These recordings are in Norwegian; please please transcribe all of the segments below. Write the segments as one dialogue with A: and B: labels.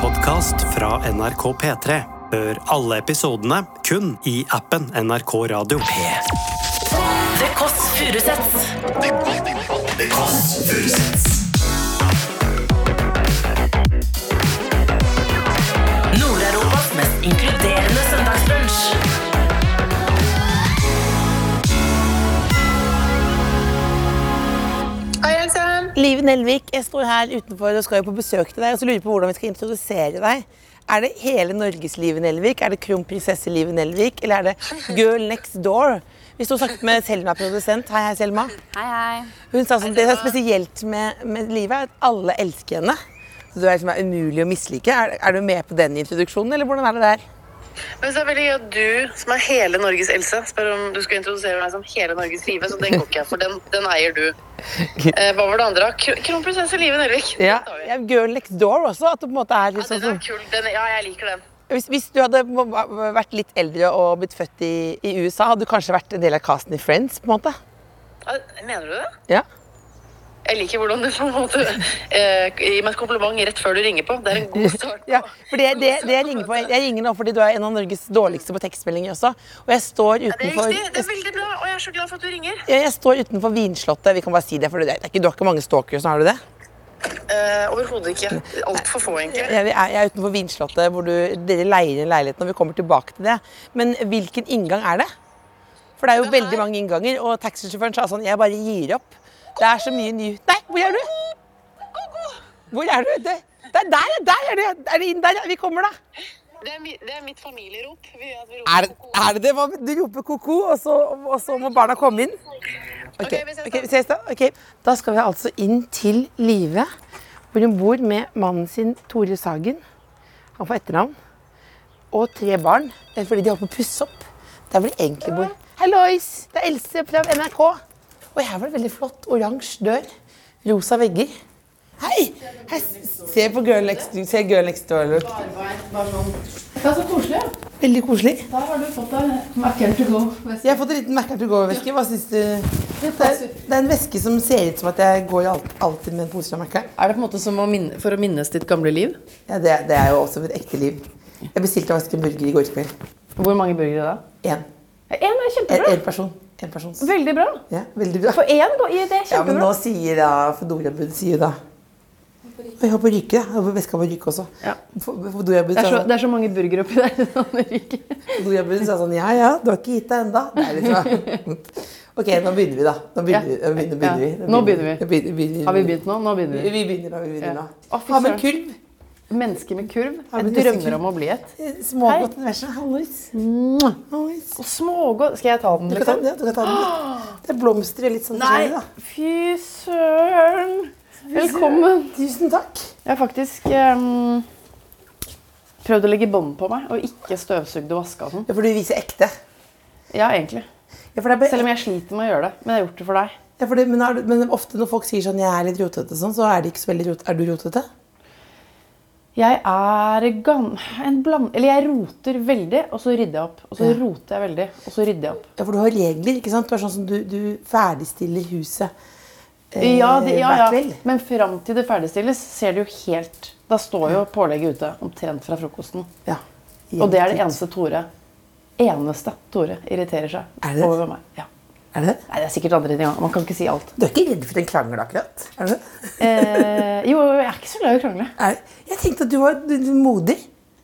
A: podkast fra NRK P3. Hør alle episodene kun i appen NRK Radio.
B: Det Kåss Furuseths. Nord-Europas mest inkluderende søndagsbrunch.
C: Hei, Else.
D: Liv Nelvik, jeg står her utenfor og skal jo på besøk til deg. Og så lurer jeg på hvordan vi skal introdusere deg. Er det hele Norges Live Nelvik? Er det kronprinsesse Live Nelvik? Eller er det girl next door? Vi sto og snakket med Selma, produsent. Hei, hei, Selma.
E: Hei, hei.
D: Hun sa sånn, det som er spesielt med, med Live, er at alle elsker henne. Så du er liksom er umulig å mislike. Er, er du med på den introduksjonen, eller hvordan er det der?
C: Men så er det veldig gøy at du, som er hele Norges Else, spør om du skal introdusere meg som hele Norges Live, så den går ikke jeg for. Den, den eier du. Eh, hva var det andre? Kro- Kronprinsesse Live Nelvik. Den tar vi.
D: Ja, girl next door også. At du på en måte er litt
C: Ja,
D: sånn
C: den
D: som
C: er kul. Den, ja, jeg liker den.
D: Hvis, hvis du hadde må- vært litt eldre og blitt født i, i USA, hadde du kanskje vært en del av casten i Friends? på en måte?
C: Ja,
F: Ah,
C: Mener du det?
D: Ja.
C: Jeg liker hvordan du på en måte eh, gir meg et kompliment rett før du ringer på. Det er en god start.
D: Ja, for det, det, det jeg ringer på, jeg ringer nå fordi du er en av Norges dårligste på tekstmeldinger også. Og jeg står
C: Det er
D: utenfor,
C: riktig. Det er veldig bra, og jeg er så glad for at du ringer.
D: jeg, jeg står utenfor Vinslottet. Vi kan bare si det, for det er ikke, du har ikke mange stalkers, har du det?
C: Eh, Overhodet ikke. Altfor få, egentlig.
D: Jeg, jeg er utenfor Vinslottet, hvor du, dere leier inn leiligheten, og vi kommer tilbake til det. Men hvilken inngang er det? For det er jo veldig mange innganger, og taxisjåføren sa sånn, jeg bare gir opp. Det er så mye ny... Nei, hvor er du? Hvor er du? Det, det er der, ja, der er du. Er det inn der? ja. Vi kommer da.
C: Det er, mi, det er mitt familierop. Vi gjør at vi
D: Er,
C: roper koko.
D: er det det? Hva- Du roper ko-ko, og, så- og så må barna komme inn? Ok,
C: Ok, vi ses da.
D: ok, vi ses da. Ok, Da skal vi altså inn til Live, hvor hun bor med mannen sin, Tore Sagen. Han får etternavn. Og tre barn. Det er fordi de holder på å pusse opp. Der hvor de egentlig bor. Hallois! Det er Else fra NRK. Og her var det veldig flott. Oransje dør. Rosa vegger. Hei! Hei, Se på Girl Next, se girl next Door.
F: Ja, så koselig.
D: Veldig koselig.
F: Da har du fått deg Mac&amp to go.
D: Jeg har fått en liten merker til gå-veske. Hva syns du? Det er, det er en veske som ser ut som at jeg går alt, alltid med en pose fra merkeren.
F: Er det på en måte som å minne, for å minnes ditt gamle liv?
D: Ja, det, det er jo også mitt ekte liv. Jeg bestilte faktisk en burger i går kveld.
F: Hvor mange burgere da?
D: Én.
F: Én er
D: En,
F: kjempebra.
D: en person. En persons.
F: Veldig bra.
D: Ja, veldig bra.
F: For én går i det er
D: Ja, men nå
F: kjempebra.
D: sier da Fodorabud sier jo da Jeg håper ryke, jeg. Håper veska må ryke også.
F: Ja.
D: Fodorabud
F: Det er,
D: sa,
F: så, det er så mange burgere oppi der. sånn det ryker.
D: Fodorabud sa sånn Ja ja, du har ikke gitt deg ennå. OK, nå begynner vi, da. Nå
F: Ja.
D: begynner, vi- nå begynner, begynner vi.
F: Ja. Nå begynner vi.
D: Nå begynner, begynner,
F: Har vi begynt nå? Nå begynner vi.
D: Vi begynner da. vi begynner
F: Ja.
D: da.
F: Å, fy
D: Ha med
F: søren.
D: kurv.
F: Mennesker med kurv.
D: Ja, men
F: Jeg
D: disse
F: drømmer om å bli et.
D: Smågodt universet. Hallois. Hallois.
F: Og Smågodt. Skal jeg ta den,
D: Du kan ta den,
F: liksom?
D: ja, du kan ta den. ja. Det er blomster og litt sånn forskjellig, da.
F: Fy søren. Velkommen.
D: Tusen takk.
F: Jeg har faktisk ehm, prøvd å legge bånd på meg og ikke støvsugd og vaska og sånn.
D: Ja, for du viser ekte.
F: Ja, egentlig.
D: Ja, for det er bare,
F: Selv om jeg sliter med å gjøre det. Men jeg har gjort det for deg.
D: ja, for det, men, er, du- men ofte når folk sier sånn 'jeg er litt rotete', og sånn, så er de ikke så veldig rotete. Er du rotete?
F: Jeg er gan... En bland... Eller jeg roter veldig, og så rydder jeg opp. Og så roter jeg veldig, og så rydder jeg opp.
D: Ja, for du har regler, ikke sant? Du er sånn som du, du ferdigstiller huset eh,
F: Ja, det, ja,
D: hver
F: ja.
D: kveld.
F: Men fram til det ferdigstilles, ser det jo helt Da står jo pålegget ute, omtrent fra frokosten.
D: Ja.
F: Og det er det eneste Tore Eneste Tore irriterer
D: Er
F: seg
D: det?
F: over meg. Ja.
D: Er det det?
F: Nei, det er sikkert andre ting òg. Man kan ikke si alt.
D: Du er ikke redd for en krangel, akkurat? Er du det?
F: Eh, jo, jeg er ikke så glad i å krangle.
D: Er, jeg tenkte at du var du, du, er modig.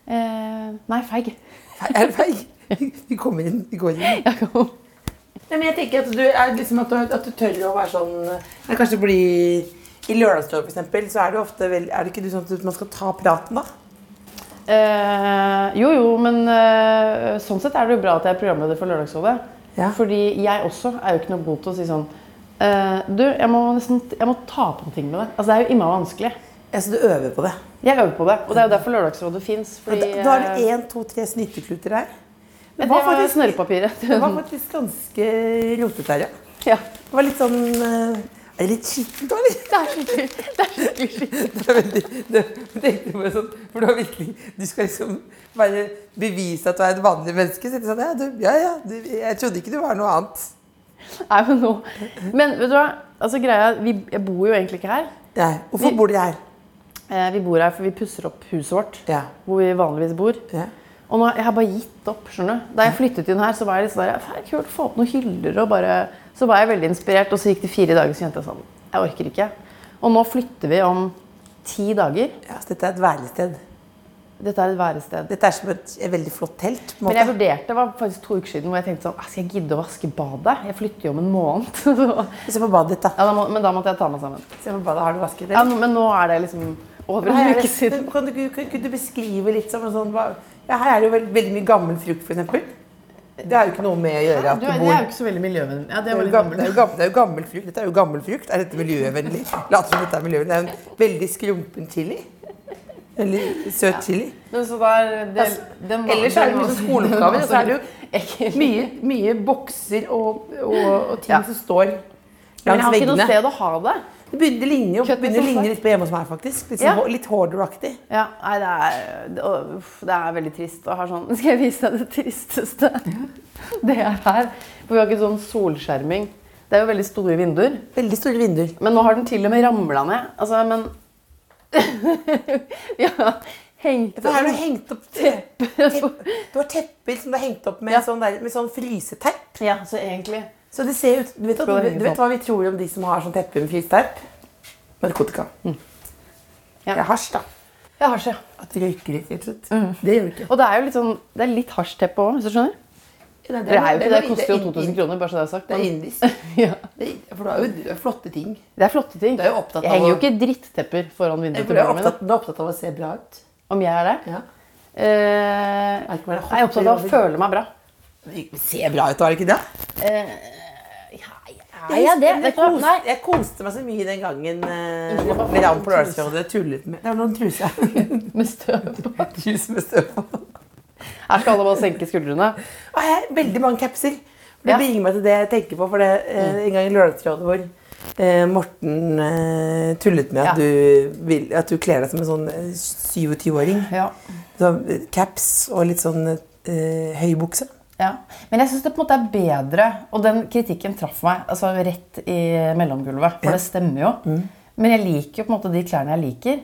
F: Eh, nei, feig.
D: Er det feil? Vi kommer inn. Vi går inn.
F: Jeg kan-
D: Nei, men jeg tenker at du, er liksom at du, at du tør å være sånn jeg Kanskje bli I Lørdagsrådet, for eksempel, så er det ofte vel, Er det ikke du sånn at man skal ta praten, da?
F: Eh, jo, jo, men eh, sånn sett er det jo bra at jeg er programleder for Lørdagsrådet.
D: Ja.
F: Fordi jeg også er jo ikke noe god til å si sånn eh, Du, jeg må nesten jeg må ta på noe ting med det. Altså, det er jo innmari vanskelig.
D: Ja, så du øver på det.
F: Jeg øver på det, og det er jo derfor Lørdagsrådet fins.
D: Og
F: Fordi
D: da, da er
F: eh,
D: det én, to, tre snytekluter her.
F: det
D: var
F: var
D: faktisk-
F: snørrepapiret.
D: Det var faktisk ganske rotete her, ja.
F: ja.
D: Det var litt sånn eh, Er det litt skittent, da, eller?
F: Det er skikkelig det er skikkelig skikkelig.
D: Det er veldig det, jeg tenkte bare sånn, For du har virkelig Du skal liksom bare bevise at du er et vanlig menneske. Så jeg tenkte sånn, ja, du, ja, ja du, jeg trodde ikke du var noe annet.
F: Nei, men nå Men vet du hva? Altså, greia, vi, jeg bor jo egentlig ikke her.
D: Nei, Hvorfor bor dere her?
G: Eh, Vi bor her, for vi pusser opp huset vårt,
E: Ja.
G: hvor vi vanligvis bor.
E: Ja.
G: Og nå, jeg har bare gitt opp, skjønner du. Da jeg flyttet inn her, så var jeg litt sånn der, "Faen, kult, få opp noen hyller og bare... Så var jeg veldig inspirert, og så gikk det fire dager, så kjente jeg sånn, jeg orker ikke. Og nå flytter vi om ti dager.
D: Ja, så dette er et værested.
G: Dette er et værested.
D: Dette er som et, et veldig flott telt. på en
G: Men jeg
D: måte.
G: vurderte, det var faktisk to uker siden, hvor jeg tenkte sånn, "Ah, skal jeg gidde å vaske badet? Jeg flytter jo om en måned. Så-
D: Se på badet ditt, da.
G: ja, da må, men da måtte jeg ta meg sammen.
D: Se på badet, Har du vasket det?
G: Ja, nå- men nå er det liksom over
D: Her
G: en
D: er
G: uke
D: det-
G: siden.
D: Kan du, kan, kan du beskrive litt som en sånn hva- ja, Her er det jo veld, veldig mye gammel frukt, f.eks. Det har jo ikke noe med å gjøre at
G: Du,
D: du
G: det
D: bor
G: er jo ikke så veldig miljøvennlig. Ja,
D: Det
G: det var
D: er, jo
G: litt
D: gammel, det,
G: gammelt.
D: er jo gammel, det er jo gammel frukt. Dette er jo gammel frukt. Er dette miljøvennlig? Later som dette er miljøvennlig. Det er jo en veldig skrumpen chili. Veldig søt chili.
G: Men så der, det, den var-
D: Ellers er det
G: den
D: mye
G: var-
D: sånn skoleoppgaver, og så er det
G: Ekkelt.
D: Mye, mye bokser og, og, og ting
G: Ja.
D: som står
G: Men jeg
D: langs
G: har ikke noe
D: veggene.
G: sted å ha det.
D: Det begynner å ligne,
G: Kjøtt med
D: begynner å
G: sofa.
D: ligne litt på hjemme hos meg, faktisk. Litt,
G: Ja.
D: sånn, hå- litt hoarder-aktig.
G: Ja, nei, det er, det, å, uff, det er veldig trist å ha sånn Skal jeg vise deg det tristeste? Det er her. For vi har ikke sånn solskjerming. Det er jo veldig store vinduer.
D: Veldig store vinduer.
G: Men nå har den til og med ramla ned. Altså, men Ja, hengt
D: For her har du hengt opp tepp, tepp, Du har tepper som du har hengt opp med,
G: Ja.
D: sånn, der, med sånn fryseteip.
G: Ja, så egentlig
D: Så det ser ut, du, vet,
G: Skal det
D: du,
G: henge
D: du vet hva vi tror om de som har sånn teppe med fryseteip? Narkotika.
G: Mm. Ja.
D: Det er hasj, da.
G: Jeg har ikke.
D: At vi røyker litt, rett og slett.
G: Mm.
D: Det gjør vi ikke.
G: Og det er jo litt sånn Det er litt hasjteppe òg, hvis du skjønner? Det er jo ikke det. Det koster jo 2000 kroner, bare så det er sagt.
D: Det er
G: men-
D: indisk.
G: Ja.
D: For du har jo du har flotte ting.
G: Det er flotte ting.
D: Du er jo opptatt
G: jeg
D: av
G: henger jo
D: å-
G: ikke drittepper foran vinduet
D: Du
G: til
D: er
G: barna mine.
D: opptatt, du er opptatt av å se bra ut.
G: Om jeg er det?
D: Ja.
G: Eh,
D: Er ikke bare
G: jeg er opptatt av å
D: hopper
G: føle meg bra.
D: Se bra ut, er det ikke det?
G: Eh, Er jeg det? Vet du hva? Nei.
D: koste, jeg koste meg så mye den gangen eh, Morten Ramm på Lørdagsrådet tullet med Det var noen truser.
G: Med støv på.
D: Trus med støv på.
G: Her skal alle bare senke skuldrene.
D: Og jeg har veldig mange capser. Det
G: Ja. Mm.
D: bringer meg til det jeg tenker på. For det, eh, en gang i Lørdagsrådet hvor eh, Morten eh, tullet med
G: Ja.
D: at, du vil, at du kler deg som en sånn eh, 27-åring.
G: Ja.
D: Sånn, eh, caps og litt sånn eh, høy bukse.
G: Ja. Men jeg syns det på en måte er bedre, og den kritikken traff meg altså rett i mellomgulvet. For det stemmer jo.
D: Mm.
G: Men jeg liker jo på en måte de klærne jeg liker.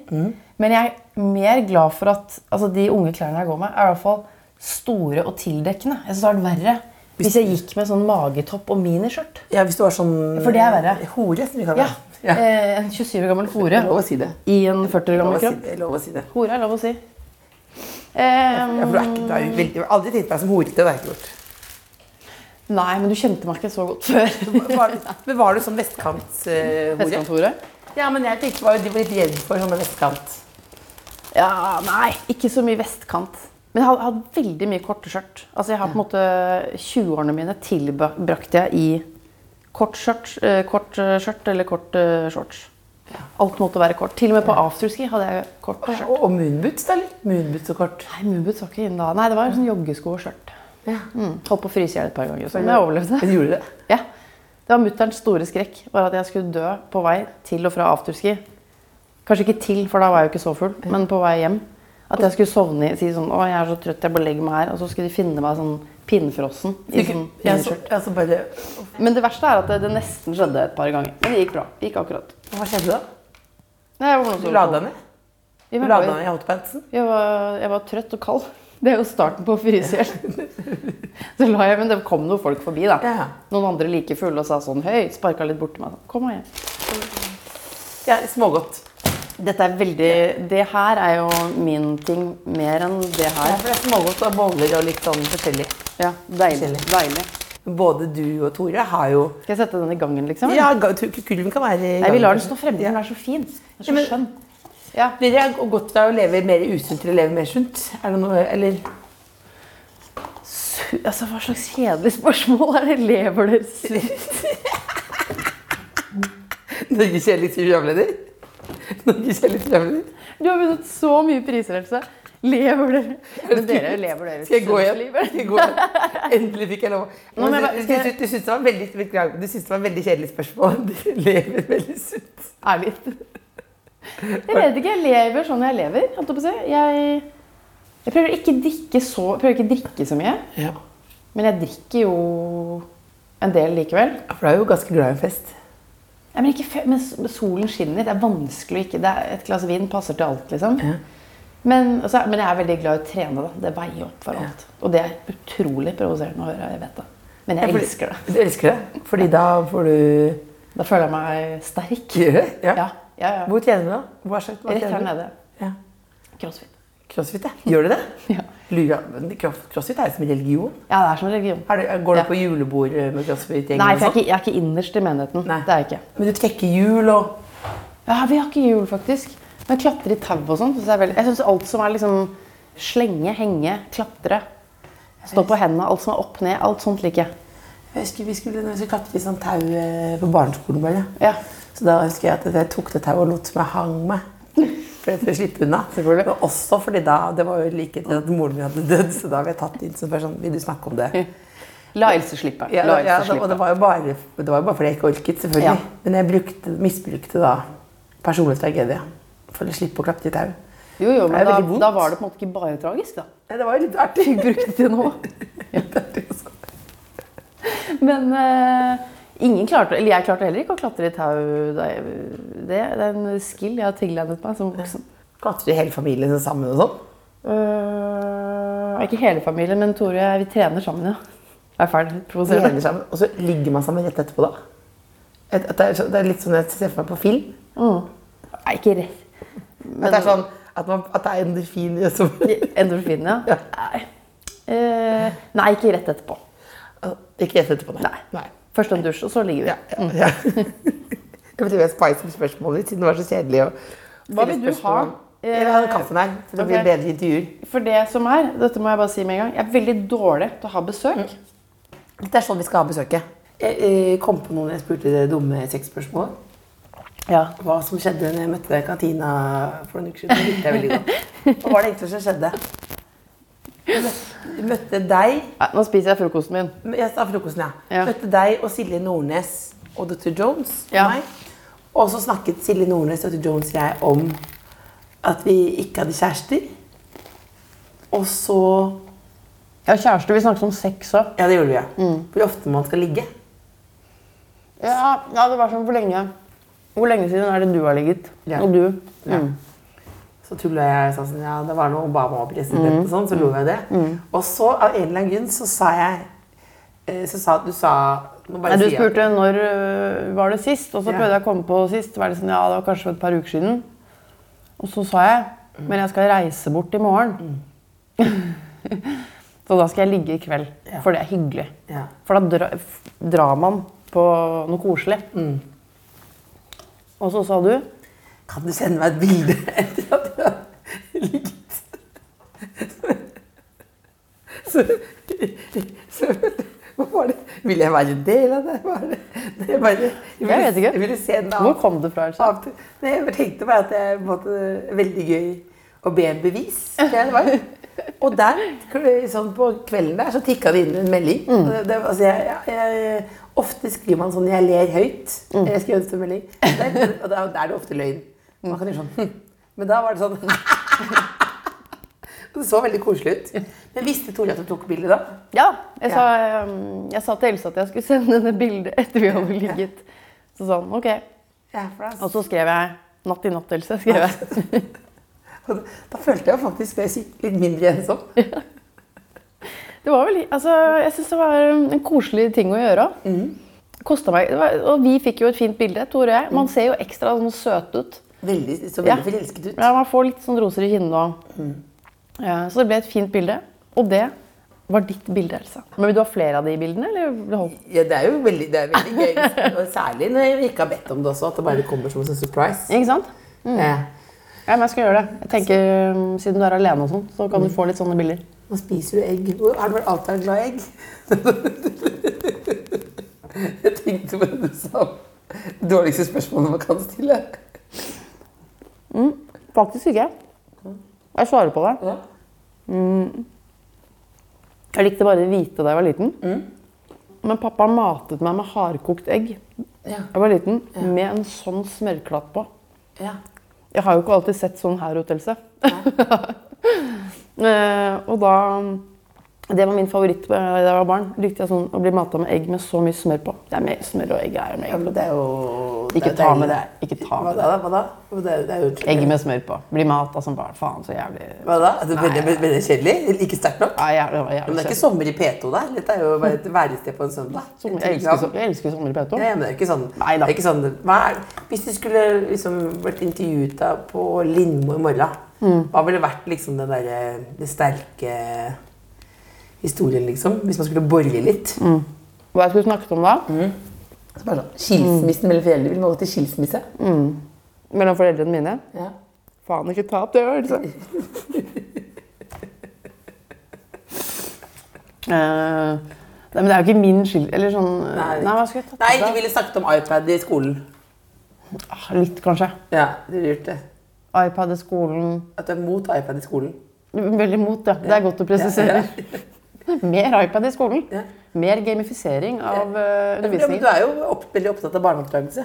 G: Men jeg er mer glad for at altså de unge klærne jeg går med, er i hvert fall store og tildekkende. Jeg syns det hadde vært verre hvis jeg gikk med sånn magetopp og miniskjørt.
D: Ja, hvis du var sånn
G: For det er verre.
D: hore, som vi kaller
G: Ja.
D: det.
G: Eh, En 27 år gammel hore
D: Lov å si det.
G: i en 40 år
D: Lov å
G: gammel
D: si
G: kropp.
D: det. Lov å si det.
G: Hore er lov å si. Eh,
D: Ja, for du er ikke, du er jo veldig, du har aldri tenkt deg som horete. Det har jeg ikke gjort.
G: nei, men du kjente meg ikke så godt før.
D: Var, men var du sånn vestkantshore?
G: Vestkontoret.
D: ja, men jeg tenkte bare, de var litt redd for sånne vestkant.
G: Ja, nei, ikke så mye vestkant. Men jeg har hatt veldig mye korte skjørt. Altså jeg har på en måte 20-årene mine tilbrakte jeg i kort skjørt, eh, kort eh, skjørt eller kort eh, shorts. Alt måtte være kort. Til og med på afterski hadde jeg kort skjørt.
D: Og, og moonboots, da? eller? Moonboots og kort.
G: Nei, Moonboots var ikke inn da. Nei, det var sånn joggesko og skjørt. Mm. Holdt på å fryse i hjel et par ganger, så men jeg overlevde.
D: Men gjorde det?
G: Ja. Det var mutterns store skrekk, var at jeg skulle dø på vei til og fra afterski. Kanskje ikke til, for da var jeg jo ikke så full, men på vei hjem. At jeg skulle sovne i si sånn Å, jeg er så trøtt, jeg bare legger meg her. Og så skulle de finne meg sånn pinnfrossen i sånn
D: Jeg så,
G: miniskjørt.
D: jeg så bare,
G: Men det verste er at det, det nesten skjedde et par ganger. Men det gikk bra. Det gikk akkurat.
D: hva skjedde da?
G: Nei, jeg var sånn.
D: Du la deg ned?
G: Vi
D: Du
G: var-
D: la deg ned i hotpantsen?
G: Jeg var, jeg var trøtt og kald. Det er jo starten på å fryse i hjel. Så la jeg, men det kom noen folk forbi, da.
D: Ja.
G: Noen andre like fulle og sa sånn høy. Sparka litt bort til meg. sånn, Kom og hjem.
D: Ja, smågodt.
G: Dette er veldig Det her er jo min ting mer enn det
D: Ja,
G: her.
D: for det er smågodt og boller og litt sånn forskjellig.
G: Ja, deilig. deilig.
D: Både du og Tore har jo
G: Skal jeg sette den i gangen, liksom?
D: Ja, ga- tu- kulven kan være i
G: Nei, vi
D: gangen.
G: lar den stå fremme. Den er så fin. Den er
D: Ja, men-
G: så skjønn.
D: Dere har gått fra å leve mer usunt til å leve mer sunt? Er det noe, eller?
G: Pu- Altså, hva slags kjedelig spørsmål er det? Lever dere sunt?
D: Norges kjedeligste programleder? Norges kjedeligste programleder?
G: Du har vunnet så mye priser, Else. Lever dere Men dere lever dere
D: Skal jeg gå
G: sunt
D: igjen?
G: liv?
D: Skal jeg gå igjen? Endelig fikk jeg lov.
G: Nå må jeg
D: Men
G: bare-
D: Du,
G: skal
D: du,
G: jeg-
D: du syntes det var veldig, beklager, du syntes det var veldig kjedelig spørsmål. Du lever veldig sunt.
G: Ærlig. Jeg vet ikke. Jeg lever sånn jeg lever. holdt Jeg, på å si. jeg, jeg prøver ikke å drikke så, jeg prøver ikke å drikke så mye.
D: Ja.
G: Men jeg drikker jo en del likevel.
D: For du er jo ganske glad i en fest.
G: Nei, men, ikke, fe- men s- solen skinner. Det er vanskelig å ikke det er, Et glass vin passer til alt, liksom. Men, altså, men jeg er veldig glad i å trene. Da. Det veier opp for alt. Og det er utrolig provoserende å høre. jeg vet det. Men jeg elsker det.
D: Du elsker det? Fordi da får du
G: Da føler jeg meg sterk.
D: Gjør det? Ja.
G: Ja, ja, ja.
D: Hvor tjener du da? Hva slags hva
G: Rett
D: tjener
G: her
D: du?
G: nede.
D: Ja.
G: Crossfit.
D: Crossfit, ja. Gjør du det?
G: Ja.
D: Lurer, men cross- crossfit er jo som en religion.
G: ja, det er som en religion.
D: Er det, går du
G: Ja.
D: på julebord eh, med crossfit-gjengen?
G: Nei,
D: og
G: for jeg er,
D: sånn?
G: ikke, jeg er ikke innerst i menigheten.
D: Nei.
G: Det er jeg ikke.
D: Men du trekker hjul og
G: Ja, vi har ikke hjul, faktisk. Men klatre i tau og sånn. synes Jeg, er veldig- jeg syns alt som er liksom slenge, henge, klatre, stå på hendene, alt som er opp ned, alt sånt liker jeg.
D: Jeg husker vi skulle, når vi skulle klatre i sånn tau eh, på barneskolen. Bare.
G: Ja.
D: Så da husker jeg at jeg tok det tauet og lot som jeg hang meg. For for å slippe unna. selvfølgelig. Men også fordi da, det var jo like til at moren min hadde dødd, så da ble jeg tatt inn som bare sånn Vil du snakke om det?
G: La Else slippe.
D: Ja,
G: La
D: ja,
G: Else
D: da, og det
G: slippe.
D: var jo bare, det var jo bare fordi jeg ikke orket, selvfølgelig.
G: Ja.
D: Men jeg brukte, misbrukte da personlig tragedie for å slippe å klatre i tau.
G: Jo, jo,
D: Det er
G: men da,
D: veldig vondt.
G: da var det på en måte ikke bare tragisk, da.
D: Nei, det var jo litt artig.
G: Vi brukte det til noe. Men eh, ingen klarte Eller jeg klarte heller ikke å klatre i tau. Da jeg, det, det er en skill jeg har tilegnet meg som voksen.
D: Klatre hele familien sammen og sånn.
G: Øh, ikke hele familien, men Tore og jeg, vi trener sammen, ja. Jeg er ferdig.
D: Så
G: Provoserende.
D: henger sammen, og så ligger man sammen rett etterpå, da. Et, at det, er, så- det er litt sånn jeg ser for meg på film.
G: Mm. Nei, ikke rett. Men
D: At det er sånn at, man, at det er endorfin i som
G: Endorfin, ja.
D: Ja.
G: Nei. Eh, nei, ikke rett etterpå.
D: Altså, Ikke rett etterpå, nei. Mm.
G: Nei. Først en dusj, og så ligger vi. Mm.
D: Ja, ja, ja. jeg vet ikke om jeg spicer opp spørsmålet ditt, siden det var så kjedelig. å
G: Hva
D: stille
G: vil du
D: spørsmål. Jeg
G: ha?
D: vil ha Eh, den kaffen her, for det
G: Ok.
D: blir bedre intervjuer.
G: For det som er, dette må jeg bare si med en gang, jeg er veldig dårlig til å ha besøk.
D: Det er sånn vi skal ha besøket. Jeg, eh, kom på noen jeg spurte det dumme sexspørsmålet.
G: Ja.
D: Hva som skjedde når jeg møtte deg i kantina for noen uker siden. Det likte jeg veldig godt. Hva var det egentlig som skjedde? Jeg møtte- møtte deg
G: Nei, nå spiser jeg frokosten min.
D: Men Jeg sa frokosten, ja.
G: Ja.
D: Møtte deg og Silje Nordnes og Dr. Jones. og
G: Ja.
D: Meg. Og så snakket Silje Nordnes, Dr. Jones og jeg om at vi ikke hadde kjærester. Og så
G: Jeg har kjæreste, vi snakket om sex òg.
D: Ja, det gjorde vi, ja.
G: Mm.
D: Hvor ofte man skal ligge.
G: Ja, ja, det var sånn hvor lenge Hvor lenge siden er det du har ligget?
D: Ja.
G: Og du?
D: Ja. Så tulla jeg og sa sånn, ja, det var noe Obama var president og sånn, så lo jeg det.
G: Mm.
D: Og så av en eller annen grunn så sa jeg eh, Så sa du sa nå bare
G: Nei, du
D: sier jeg-
G: spurte når øh, var det sist, og så
D: Ja.
G: prøvde jeg å komme på sist. Var det sånn, ja, det var kanskje et par uker siden. Og så sa jeg, men jeg skal reise bort i morgen. så da skal jeg ligge i kveld,
D: Ja.
G: for det er hyggelig.
D: Ja.
G: For da dra, f- drar man på noe koselig. Og så sa du,
D: Kan du sende meg et bilde etter at jeg har ligget? Så, så, hva var det? Vil jeg være en del av det? Hva er det? Nei, jeg, bare, jeg, ville,
G: Jeg vet ikke.
D: Jeg ville se den av,
G: hvor kom det fra? Elsa?
D: av- Nei, jeg bare tenkte bare at det er på en måte veldig gøy å be en bevis. Det er det var. Og der, sånn på kvelden der, så tikka det inn en melding. Og Det, det, altså jeg, jeg, jeg, ofte skriver man sånn 'jeg ler høyt'. Jeg skrev en sånn melding. Der, og da, da er det ofte løgn. Man kan gjøre sånn «Hm». Men da var det sånn Og det så veldig koselig ut. Men visste Tore at du tok bilde da?
G: Ja, jeg, Sa, øhm, jeg sa til Else at jeg skulle sende henne bildet etter vi hadde ligget. Så sa hun, ok.
D: Ja, for da,
G: Og så skrev jeg, natt i natt, Else, skrev jeg.
D: og da følte jeg faktisk meg litt mindre ensom.
G: Det var vel, altså, jeg synes det var ehm, en koselig ting å gjøre. Kostet meg, det var, og vi fikk jo et fint bilde, Tore og jeg. Man ser jo ekstra sånn søt ut.
D: Veldig, så
G: Ja.
D: veldig forelsket ut. Mm.
G: Ja, man får litt sånn roser i kinnene også. Ja, så det ble et fint bilde, og det var ditt bilde, Elsa. Men vil du ha flere av de bildene, eller vil du holde?
D: Ja, det er jo veldig, det er veldig gøy. Og særlig når jeg ikke har bedt om det også, at det bare kommer som en sånn surprise.
G: Ikke sant?
D: Eh,
G: Ja, men jeg skal gjøre det. Jeg tenker, um, siden du er alene og sånn, så kan du
D: Mm.
G: få litt sånne bilder.
D: nå spiser du egg. Hvor- Har du vært alltid vært glad i egg? Jeg tenkte på det du sa. Dårligste spørsmålet man kan stille.
G: Faktisk ikke. Jeg svarer på det. Mm.
D: Ja.
G: Jeg likte bare det hvite da jeg var liten.
D: Mm.
G: Men pappa matet meg med hardkokt egg.
D: Ja.
G: Jeg var liten med en sånn smørklatt på.
D: Ja.
G: Jeg har jo ikke alltid sett sånn her ut, Else. Eh, og da Det var min favoritt eh, da jeg var barn. Likte jeg sånn å bli mata med egg med så mye smør på. Det er mer smør og egg er jo med
D: Ja,
G: egg.
D: men det er jo det
G: Ikke
D: er
G: ta med
D: deilig,
G: det. Ikke ta
D: Hva
G: med det.
D: da? Hva da? Hva da? Det er jo
G: Egg med smør på. Blir mat av som barn. Faen, så jævlig
D: Hva da? Altså, veldig, veldig kjedelig? Ikke sterkt nok?
G: Ja, jævlig, jævlig,
D: Men det er ikke sommer
G: kjedelig.
D: i P2 der. Dette er jo bare et værested på en søndag.
G: Sommer- Jeg elsker, som- jeg elsker sommer i P2.
D: Nei, men det er ikke sånn,
G: Nei da.
D: Det er ikke sånn hva er, Hvis du skulle liksom vært intervjuet da på Lindmo i morgen,
G: Mm.
D: hva ville vært liksom den derre det sterke historien, liksom? Hvis man skulle bore litt?
G: Mm. Hva jeg skulle snakket om da?
D: Så bare sånn,
G: Mm.
D: Skilsmissen mellom foreldre. Vil man gå til skilsmisse?
G: Mellom foreldrene mine?
D: Ja.
G: Faen, ikke ta opp det øvelset. Eh, nei, men det er jo ikke min skyld. Eller sånn Nei, hva skulle jeg tatt
D: Nei,
G: opp
D: de
G: da?
D: ville snakket om iPad i skolen.
G: Ah, Litt, kanskje.
D: Ja, de ville gjort det.
G: iPad i skolen.
D: At du er mot iPad i skolen.
G: Veldig mot, ja. Det er godt å presisere. Mer iPad i skolen.
D: Ja.
G: Mer gamifisering
D: Ja,
G: av eh,
D: men du
G: undervisningen.
D: er jo opp, veldig opptatt av barneoppdragelse.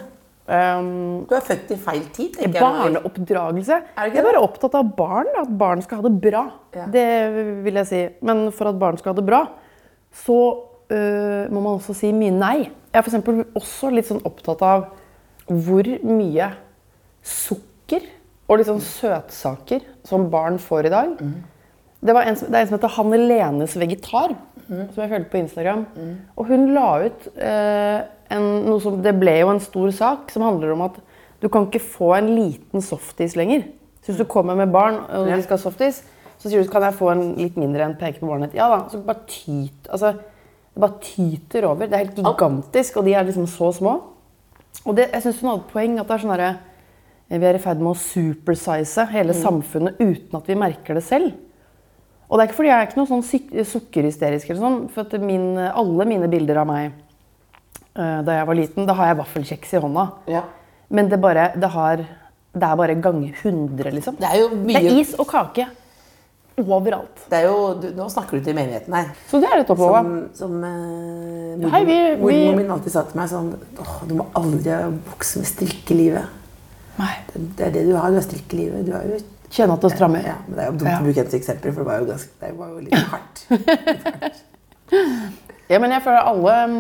G: Um,
D: Du er født i feil tid. tenker jeg.
G: barneoppdragelse.
D: Er det ikke
G: Jeg er
D: det?
G: bare opptatt av barn. At barn skal ha det bra.
D: Ja.
G: Det vil jeg si. Men for at barn skal ha det bra, så øh, må man også si mye nei. Jeg er f.eks. også litt sånn opptatt av hvor mye sukker og litt sånn søtsaker som barn får i dag. Det, var en, som- det er en som heter Hanne Lenes Vegetar, som jeg følte på Instagram. Og hun la ut eh, en, noe som Det ble jo en stor sak som handler om at du kan ikke få en liten softis lenger. Så hvis du kommer med barn og de skal ha softis, så sier du kan jeg få en litt mindre enn peke på barnet. Ja da, så bare tyt, altså, Det bare tyter over. Det er helt gigantisk, og de er liksom så små. Og det, jeg synes hun hadde et poeng at det er sånn derre vi er i ferd med å supersize hele
D: Mm.
G: samfunnet uten at vi merker det selv. Og det er ikke fordi jeg er ikke noe sånn syk- sukkerhysterisk, eller sånn, for at min, alle mine bilder av meg eh, da jeg var liten, da har jeg vaffelkjeks i hånda.
D: Ja.
G: Men det, bare, det, har, det er bare ganger 100, liksom.
D: Det er jo
G: Det er
D: mye
G: is og kake overalt.
D: det er jo, du, Nå snakker du til menigheten her.
G: Så det er litt oppover.
D: Som, som eh, mormor-
G: Hei, vi- vi-
D: mormor min alltid sa til meg sånn Åh, du må aldri vokse med strikkelivet.
G: Nei.
D: Det, det er det du har, du har strikkelivet. Du har jo
G: Kjenne at det strammer.
D: ja, men Det er jo dumt
G: Ja.
D: å bruke et eksempel, for det var jo, ganske, det var jo litt hardt.
G: Ja, men jeg føler alle mm,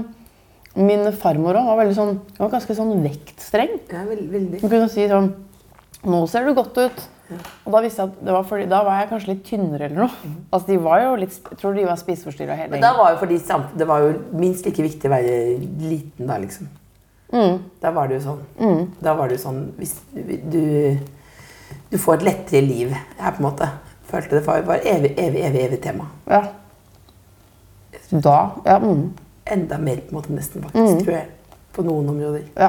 G: Min farmor også var veldig sånn, hun var ganske sånn vektstreng.
D: Ja, veld, veldig.
G: Hun kunne si sånn Nå ser du godt ut. Og da visste jeg at det var fordi, da var jeg kanskje litt tynnere eller noe. Altså, de var jo litt, jeg tror de var spiseforstyrra hele
D: Men da
G: gjengen.
D: var jo fordi sam- det var jo minst like viktig å være liten da, liksom.
G: Mm.
D: Da var det jo sånn. Da var det jo sånn hvis du, du får et lettere liv her, på en måte. Følte det var, var evig, evig, evig, evig tema.
G: Ja. Da Ja. Mm,
D: Enda mer, på en måte, nesten, faktisk, tror jeg. På noen områder.
G: ja.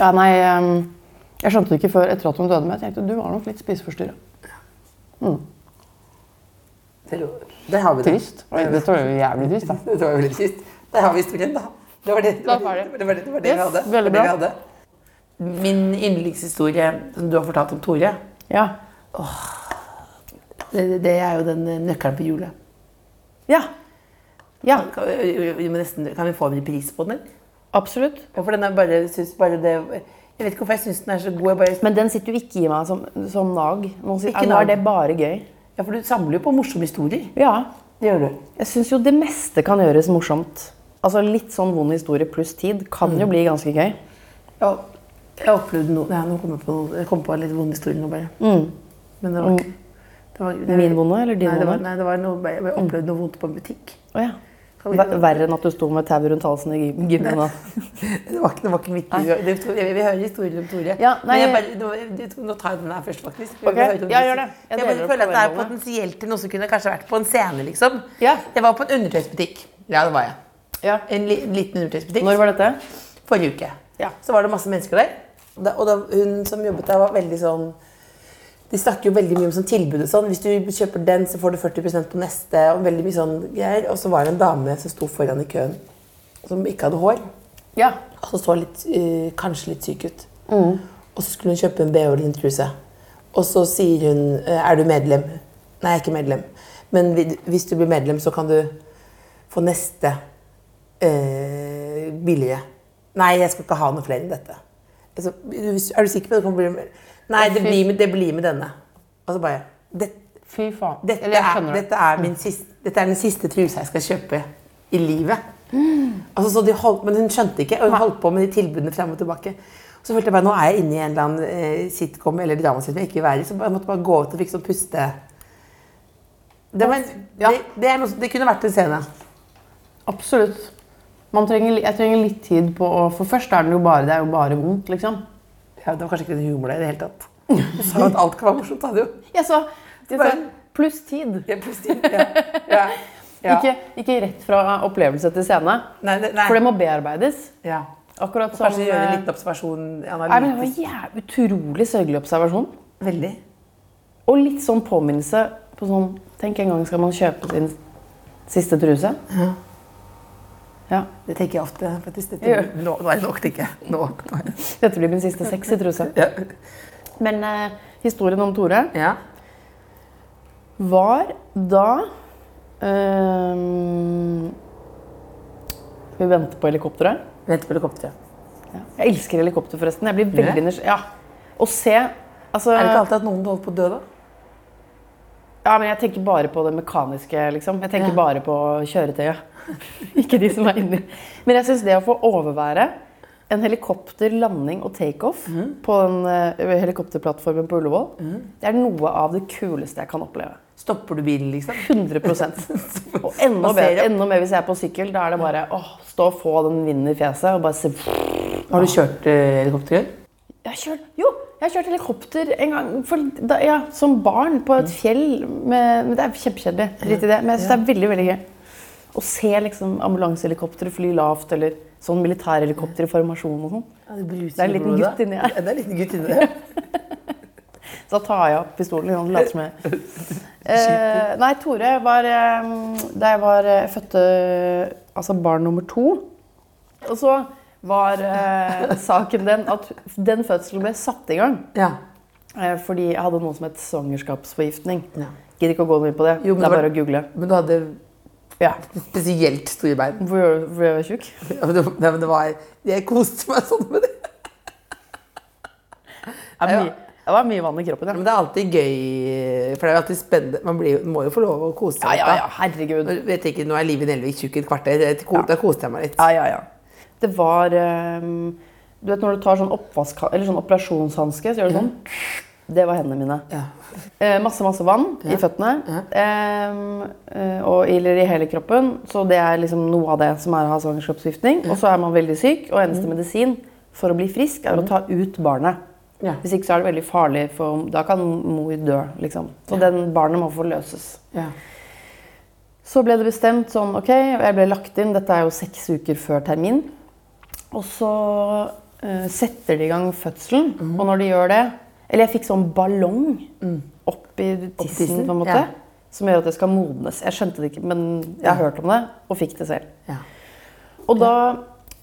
G: ja nei, ehm, jeg skjønte det ikke før etter at hun døde, men jeg tenkte du var nok litt spiseforstyrra.
D: Det, lå- der har vi det.
G: Trist. Oi, Det var jo jævlig trist, da.
D: Det var jo veldig trist. Der har vi historien, da. Det var det, det,
G: Da
D: var
G: er
D: det,
G: ferdig.
D: det, var det, det, var det
G: Yes,
D: vi hadde.
G: veldig
D: Det var det
G: bra.
D: vi hadde. Min yndlingshistorie som du har fortalt om Tore,
G: Ja.
D: det, det er jo den eh, nøkkelen på hjulet.
G: ja. Ja,
D: Kan, vi- vi må nesten, kan vi få en repris på den? eller?
G: absolutt.
D: Ja, For den er bare, jeg synes bare det, jeg vet ikke hvorfor jeg syns den er så god. Jeg bare,
G: Men den sitter jo ikke i meg som, som nag. Nå, sier,
D: Ikke
G: ja, nå
D: nag.
G: er det bare gøy.
D: ja, for du samler jo på morsomme historier.
G: Ja.
D: Det gjør du.
G: Jeg syns jo det meste kan gjøres morsomt. Altså Litt sånn vond historie pluss tid kan jo bli ganske gøy.
D: Ja, jeg opplevde noe Nei, nå kom jeg på, noe- jeg kom på en litt vond historie nå, bare. Men det var ikke det var, det,
G: Mm. Min vonde eller din
D: nei, det var,
G: vonde? Mm.
D: nei, det var noe, jeg bare opplevde noe vondt på en butikk.
G: Å ja.
D: Kan vi-
G: Ver- Verre enn at du sto med tau rundt halsen i gy- gymmen. da.
D: Det var ikke, det var ikke mitt liv. Det, jeg vil høre historien om Tore.
G: Ja, nei,
D: men jeg bare, nå, jeg, nå tar jeg den her først, faktisk.
G: Ok, ja, gjør det.
D: Jeg,
G: Jeg deler
D: bare
G: det på
D: føler at det er
G: veldig.
D: potensielt til noe som kunne kanskje vært på en scene, liksom.
G: Ja.
D: Jeg var på en undertøysbutikk. Ja, det var jeg.
G: Ja.
D: En li, liten undertøysbutikk.
G: Når var dette?
D: Forrige uke.
G: Ja.
D: Så var det masse mennesker der. Og da- Og da, hun som jobbet der, var veldig sånn De snakker jo veldig mye om sånn tilbud og sånn. Hvis du kjøper den, så får du 40 på neste. Og veldig mye sånn greier. Og så var det en dame som sto foran i køen, som ikke hadde hår.
G: Ja.
D: Og så så litt, eh, kanskje litt syk ut. Og så skulle hun kjøpe en BH eller en truse. Og så sier hun eh, 'Er du medlem?' Nei, jeg er ikke medlem. Men vid- hvis du blir medlem, så kan du få neste eh, billige. Nei, jeg skal ikke ha noe flere enn dette. Altså, hvis- er du sikker på det? Kan bli med? Nei, det blir, med, det blir med denne. Og så bare det,
G: Fy faen.
D: dette,
G: Eller jeg
D: er,
G: skjønner det.
D: dette, er min siste, dette er den siste trusa jeg skal kjøpe i livet.
G: Mm.
D: Altså, så de holdt, men hun skjønte ikke, og hun holdt på med de tilbudene frem og tilbake. Og så følte jeg bare, nå er jeg inne i en eller annen eh, sitcom eller dramaserie som jeg ikke vil være i, så jeg måtte bare gå ut og fikk sånn puste... Det, var en,
G: Ja.
D: det, det, er noe, som- det kunne vært en scene.
G: Absolutt. Man trenger, li- jeg trenger litt tid på å For først er den jo bare, det er jo bare vondt, liksom.
D: Ja, det var kanskje ikke den humor der i det hele tatt. Du sa jo at alt kan være morsomt, sa du.
G: Jeg sa, jeg sa
D: Bare-
G: pluss tid.
D: Ja, plutselig. Ja. Ja. Ja.
G: Ikke, ikke rett fra opplevelse til scene.
D: Nei, det- nei.
G: For det må bearbeides.
D: Ja.
G: Akkurat som
D: Kanskje gjøre en
G: eh,
D: liten observasjon
G: Nei, men Det var
D: analytisk.
G: en jæv- utrolig sørgelig observasjon.
D: Veldig.
G: Og litt sånn påminnelse på sånn Tenk en gang skal man kjøpe sin siste truse. Ja.
D: Det tenker jeg ofte. faktisk. Dette,
G: Ja.
D: nå, nå er det nok, tenker jeg. Nå, nå er det.
G: Dette blir min siste sexy truse.
D: Ja.
G: Men eh, historien om Tore
D: Ja.
G: var da ehm, Vi venter på helikopteret.
D: Vent på helikopteret.
G: Ja. Jeg elsker helikopter, forresten. Jeg blir
D: Gjør
G: veldig nysgjerrig. Ja. Å se altså,
D: Er det ikke alltid at noen holder på å dø, da?
G: Ja, men jeg tenker bare på det mekaniske, liksom. Jeg tenker bare på kjøretøyet. Ikke de som er inni. Men jeg syns det å få overvære en helikopter, landing og takeoff
D: Mhm.
G: på den eh, helikopterplattformen på Ullevål, det er noe av det kuleste jeg kan oppleve.
D: Stopper du bilen, liksom?
G: 100 Og enda
D: Passerer.
G: mer, enda mer hvis jeg er på sykkel. Da er det bare å stå og få den vinden i fjeset og bare se
D: Har du kjørt eh, helikopter før?
G: Jeg har kjørt, jo, jeg har kjørt helikopter en gang for, da, ja, som barn på et fjell. Med, men det er kjempekjedelig. Drit i det. Men jeg syns det er veldig veldig gøy å se liksom, ambulansehelikoptre fly lavt, eller sånn militærhelikopter i formasjon og sånn.
D: Ja, det,
G: Det er en liten gutt inni her.
D: Ja, det er en liten gutt inni der.
G: Så da tar jeg opp pistolen og later som jeg eh, Nei, Tore var eh, Da jeg var eh, fødte altså barn nummer to Og så var eh, saken den at den fødselen ble satt i gang.
D: Ja.
G: Eh, Fordi jeg hadde noe som het svangerskapsforgiftning.
D: Ja.
G: Gidder ikke å gå noe inn på det.
D: Jo, men
G: det er
D: det var-
G: bare å google.
D: Men du hadde
G: Ja.
D: spesielt store bein.
G: Hvorfor gjør du- hvorfor gjør jeg meg tjukk?
D: Ja, men det, nei, men det var, jeg koste meg sånn med det.
G: Det er
D: Ja.
G: mye- det var mye vann i kroppen.
D: Men
G: Ja,
D: det er alltid gøy, for det er jo alltid spennende. Man blir, jo- må jo få lov å kose
G: ja,
D: seg
G: ja, ja
D: litt.
G: herregud.
D: da. Nå vet jeg ikke, nå er livet i Nelvik tjukk i et kvarter. Jeg- ko- Da koste jeg meg litt.
G: Ja, ja, ja. Det var eh, Du vet når du tar sånn, oppvask, eller sånn operasjonshanske, så gjør du sånn. Det var hendene mine.
D: Ja.
G: Eh, masse masse vann i føttene. Eh, eh, og, eller i hele kroppen. Så det er liksom noe av det som er å ha svangerskapsforgiftning. Og så er man veldig syk, og
D: Mm.
G: eneste medisin for å bli frisk er å ta ut barnet.
D: Ja.
G: Hvis ikke så er det veldig farlig, for da kan mor dø. liksom. Så den barnet må forløses.
D: Ja.
G: Så ble det bestemt sånn, ok, jeg ble lagt inn, dette er jo seks uker før termin. Og så eh, setter de i gang fødselen, og når de gjør det, eller jeg fikk sånn ballong Mm. opp i tissen
D: tissen,
G: på en måte,
D: ja.
G: som gjør at det skal modnes. Jeg skjønte det ikke, men jeg har hørt om det, og fikk det selv.
D: Ja.
G: Og da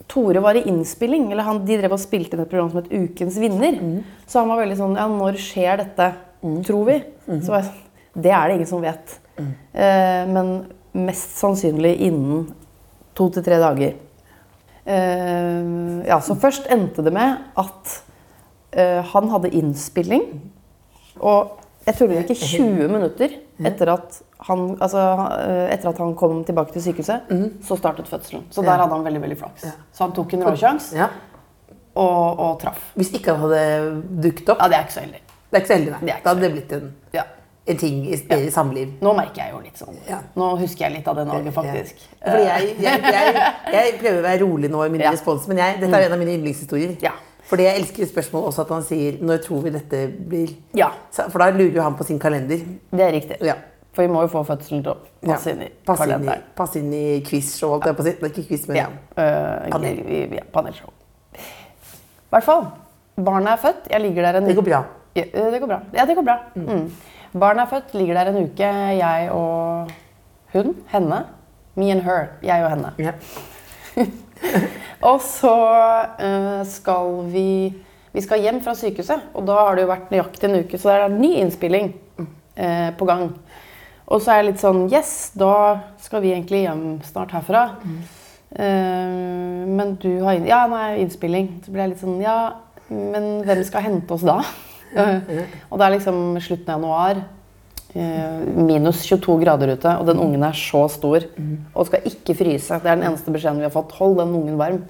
G: Tore var i innspilling, eller han, de drev og spilte inn et program som het Ukens vinner, så han var veldig sånn Ja, når skjer dette, tror vi? Så var jeg sånn Det er det ingen som vet. Eh, men mest sannsynlig innen to til tre dager. Eh, ja, så først endte det med at eh, han hadde innspilling. Og jeg tuller ikke 20 minutter etter at han, altså, eh, etter at han kom tilbake til sykehuset,
D: Mhm.
G: så startet fødselen. Så der hadde han veldig veldig flaks. Så han tok en råsjanse
D: Ja.
G: og, og traff.
D: Hvis ikke han hadde dukket opp,
G: Ja, det er ikke så heldig.
D: det er ikke så heldig, nei.
G: Det er ikke
D: Da hadde det blitt en,
G: Ja.
D: en ting i, i samliv.
G: Nå merker jeg jo litt sånn.
D: Ja.
G: Nå husker jeg litt av den dagen, faktisk.
D: Ja. Fordi jeg, jeg, jeg, jeg prøver å være rolig nå i min
G: Ja.
D: respons, men jeg, dette er en av mine yndlingshistorier.
G: Ja.
D: Fordi jeg elsker spørsmål også at han sier 'når tror vi dette blir'?
G: Ja.
D: Så- For da lurer jo han på sin kalender.
G: Det er riktig.
D: Ja.
G: For vi må jo få fødselen til å passe
D: Ja.
G: inn i
D: Passe inn i,
G: kalenderen.
D: passe inn i quiz-show, holdt jeg på å si. Det er Ikke quiz, men
G: Ja. øh,
D: Panel.
G: vi- vi- ja, panelshow. I hvert fall. Barnet er født. Jeg ligger der en
D: Det går bra.
G: Ja, øh, det går bra. Ja, det går bra. Mm. Barnet er født, ligger der en uke. Jeg og hun. Henne. Me and her. Jeg og henne.
D: Ja.
G: Og så øh, skal vi Vi skal hjem fra sykehuset, og da har det jo vært nøyaktig en uke, så det er en ny innspilling eh, på gang. Og så er jeg litt sånn Yes, da skal vi egentlig hjem snart herfra. Eh, men du har inn... Ja, nei, innspilling. Så ble jeg litt sånn Ja, men hvem skal hente oss da? Eh, og det er liksom slutten av januar. eh, minus 22 grader ute, og den ungen er så stor og skal ikke fryse. Det er den eneste beskjeden vi har fått. Hold den ungen varm.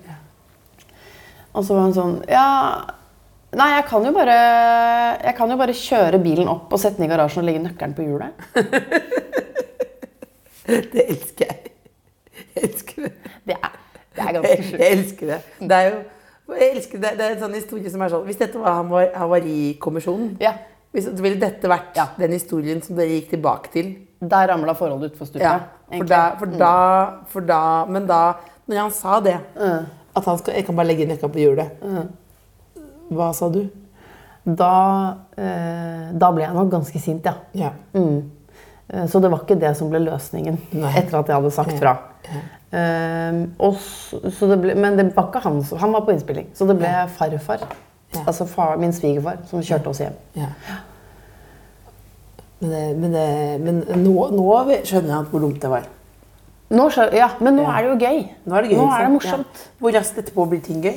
G: Og så var hun sånn Ja, nei, jeg kan jo bare, jeg kan jo bare kjøre bilen opp og sette den i garasjen og legge nøkkelen på hjulet.
D: Det elsker jeg. Jeg elsker det.
G: Det er, det er ganske
D: Jeg,
G: sjukt.
D: jeg elsker det. Det er jo jeg elsker det. det er en sånn historie som er sånn Hvis dette var havar- Havarikommisjonen,
G: Ja.
D: hvis- så ville dette vært
G: Ja.
D: den historien som dere gikk tilbake til.
G: Der ramla forholdet utfor stupet.
D: Ja, for
G: egentlig. Mm.
D: da, for da, for da Men da Når han sa det
G: Mm.
D: At han skal, jeg kan bare legge nøkkelen på hjulet Hva sa du?
G: da, eh, da ble jeg nok ganske sint, ja.
D: Ja.
G: Eh, Så det var ikke det som ble løsningen
D: Nei.
G: etter at jeg hadde sagt fra. Eh, og s- så det ble, men det var ikke han som Han var på innspilling, så det ble farfar.
D: Ja.
G: Altså far, min svigerfar som kjørte oss hjem.
D: ja. Men, det, men, det, men nå, nå skjønner jeg hvor dumt det var.
G: Nå, skjø- ja, men nå er det jo gøy.
D: Nå er det gøy.
G: Nå
D: ikke
G: er det
D: sant?
G: morsomt.
D: Ja. Hvor raskt etterpå blir ting gøy?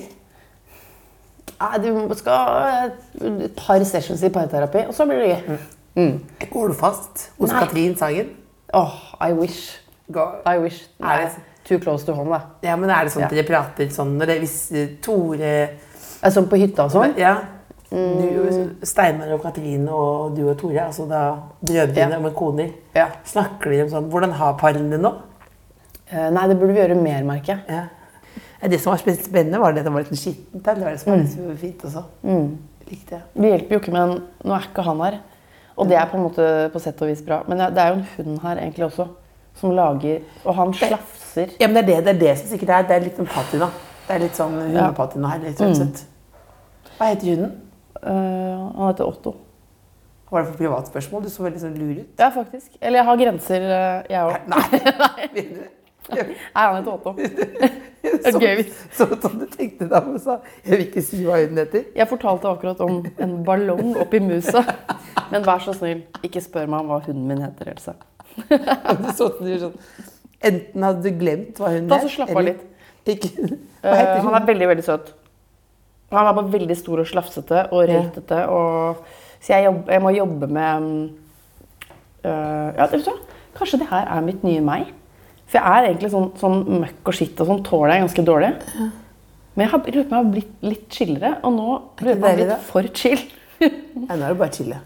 G: Nei, Du skal eh, et par sessions i parterapi, og så blir det
D: Mm.
G: gøy.
D: Går du fast hos
G: Nei.
D: Katrin Sagen?
G: Åh, I wish.
D: Går-
G: I wish. Nei,
D: det-
G: too close to home, da.
D: Ja, men er det sånn at
G: Ja.
D: dere prater sånn når det, Hvis eh, Tore
G: Eh, Sånn på hytta og sånn.
D: Ja.
G: Mm.
D: Du, Steinar og Katrine og du og Tore, altså da brødrene
G: Ja.
D: med koner,
G: Ja.
D: snakker dere om sånn Hvordan har paren det nå?
G: Eh, Nei, det burde vi gjøre mer, merker jeg.
D: Ja. Det som var spesielt spennende, var det at det var litt sånn skittent der. Det var det som var litt
G: Mm.
D: så fint også. Likte jeg.
G: Det hjelper jo ikke, men nå er ikke han her. Og det er på en måte på sett og vis bra. Men det er jo en hund her egentlig også, som lager Og han slafser.
D: Ja, men det er det, det er det som sikkert er. Det er litt sånn patina. Det er litt sånn hundepatina her. Litt
G: Mm.
D: sånn søtt. Hva heter hunden?
G: Eh, han heter Otto.
D: Var det for privat spørsmål? Du så veldig sånn lur ut.
G: Ja, faktisk. Eller jeg har grenser, eh, jeg òg.
D: Nei.
G: Nei, han heter Otto.
D: Så,
G: gøy hvis-
D: så, sånn du tenkte da og sa Jeg vil ikke si hva hunden heter.
G: Jeg fortalte akkurat om en ballong oppi musa. Men vær så snill, ikke spør meg om hva hunden min heter, Else.
D: Og du så sånn, du gjorde sånn. Enten hadde du glemt hva hunden
G: Ta så slapp av
D: eller-
G: litt.
D: Ikke, hva
G: Eh,
D: heter
G: han er
D: hunden?
G: veldig, veldig søt. Han er bare veldig stor og slafsete og røytete. Og, så jeg, jobb, jeg må jobbe med mm, øh, ja, vet du hva? Kanskje det her er mitt nye meg? For jeg er egentlig sånn, sånn møkk og skitt og sånn tåler jeg ganske dårlig. Men jeg har jeg lurer på om jeg har blitt litt chillere, og nå lurer jeg på om jeg har
D: deilig, da?
G: blitt for chill.
D: Nei, nå er det bare å chille.